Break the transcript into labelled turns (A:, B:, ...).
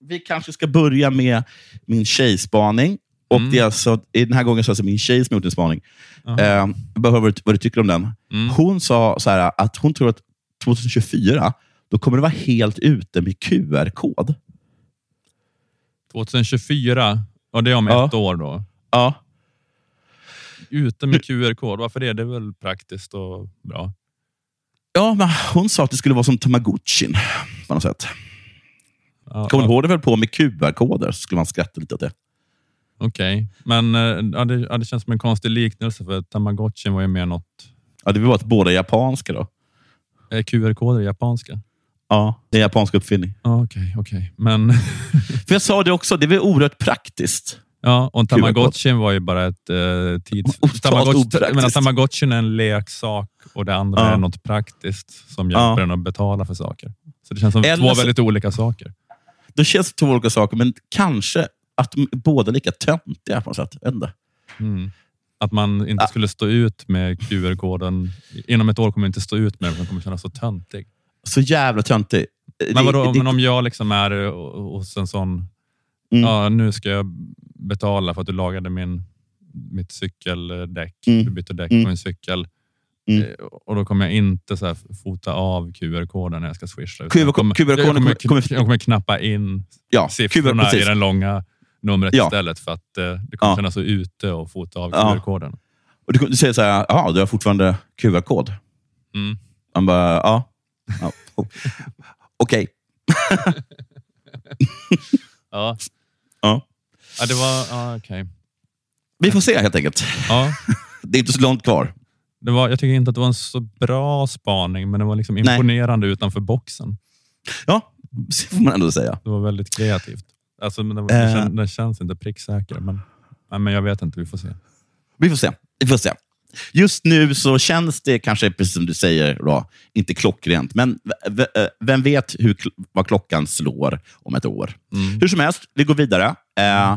A: vi kanske ska börja med min tjejspaning. Och det är alltså, i den här gången så är det alltså min tjej som har gjort en spaning. Eh, jag behöver vad, du- vad du tycker om den. Hon sa så här, att hon tror att 2024, då kommer det vara helt ute med QR-kod.
B: 2024, ja, det är om
A: Ja.
B: ett år då.
A: Ja.
B: Ute med QR-kod, varför det? Det är väl praktiskt och bra.
A: Ja, men hon sa att det skulle vara som tamagotchin på något sätt.
B: Ja,
A: Kommer du ihåg det väl på med QR-koder? Så skulle man skratta lite åt det.
B: Okej, men eh, ja, det, ja, det känns som en konstig liknelse för Tamagotchin var ju mer något... eh,
A: Ja, det var att båda är japanska då.
B: Är QR-koder japanska?
A: Ja, det är en japansk uppfinning.
B: Ja, Okej, okej. Men
A: För jag sa det också, det är väl oerhört praktiskt.
B: ja, och
A: QR-kod.
B: Tamagotchin var ju bara ett eh, tids...
A: Totalt
B: Tamagotchi,
A: opraktiskt.
B: jag menar, Tamagotchin är en leksak och det andra
A: Ja.
B: är något praktiskt som hjälper
A: Ja.
B: en att betala för saker. Så det känns som
A: Eller
B: två
A: så-
B: väldigt olika saker.
A: Det känns som två olika saker, men kanske att de är båda lika töntiga på något sätt. Jag vet inte.
B: Mm. Att man
A: Ah.
B: inte skulle stå ut med QR-koden. Inom ett år kommer jag inte stå ut med den, för den kommer kännas så töntig.
A: Så jävla töntig.
B: Men vadå,
A: Det- det-
B: men om jag liksom är eh, hos en sån...
A: Mm.
B: Ja, nu ska jag betala för att du lagade min, mitt cykeldäck.
A: Mm.
B: Du bytte däck
A: Mm.
B: på min cykel.
A: Mm.
B: Eh, Och då kommer jag inte så här fota av QR-koden när jag ska swisha. utan
A: QR-ko-
B: jag kommer-
A: QR-koden
B: jag kommer,
A: kommer-
B: jag kommer knappa in
A: ja,
B: siffrorna
A: precis.
B: i det långa numret
A: Ja.
B: istället för att eh, det kommer
A: Ja.
B: kännas så ute och fota av
A: Ja.
B: QR-koden.
A: Och du, du säger så här, ja, du har fortfarande QR-kod.
B: Mm.
A: Man bara, ja. ja. Okej.
B: Ja.
A: Ja.
B: Ja, det var... Ja, okej.
A: Vi får se helt enkelt.
B: Ja,
A: Det är inte så långt kvar.
B: det var, jag tycker inte att det var en så bra spaning, men det var liksom imponerande utanför boxen.
A: Ja, så får man ändå säga.
B: Det var väldigt kreativt. Alltså, men den, den,
A: Eh.
B: kän, den känns inte pricksäker, men, nej, men jag vet inte. Vi får se.
A: Vi får se. Vi får se. Just nu så känns det kanske, precis som du säger, då, inte klockrent. Men v- v- eh, vem vet hur, kl- vad klockan slår om ett år? Hur som helst, vi går vidare. Eh,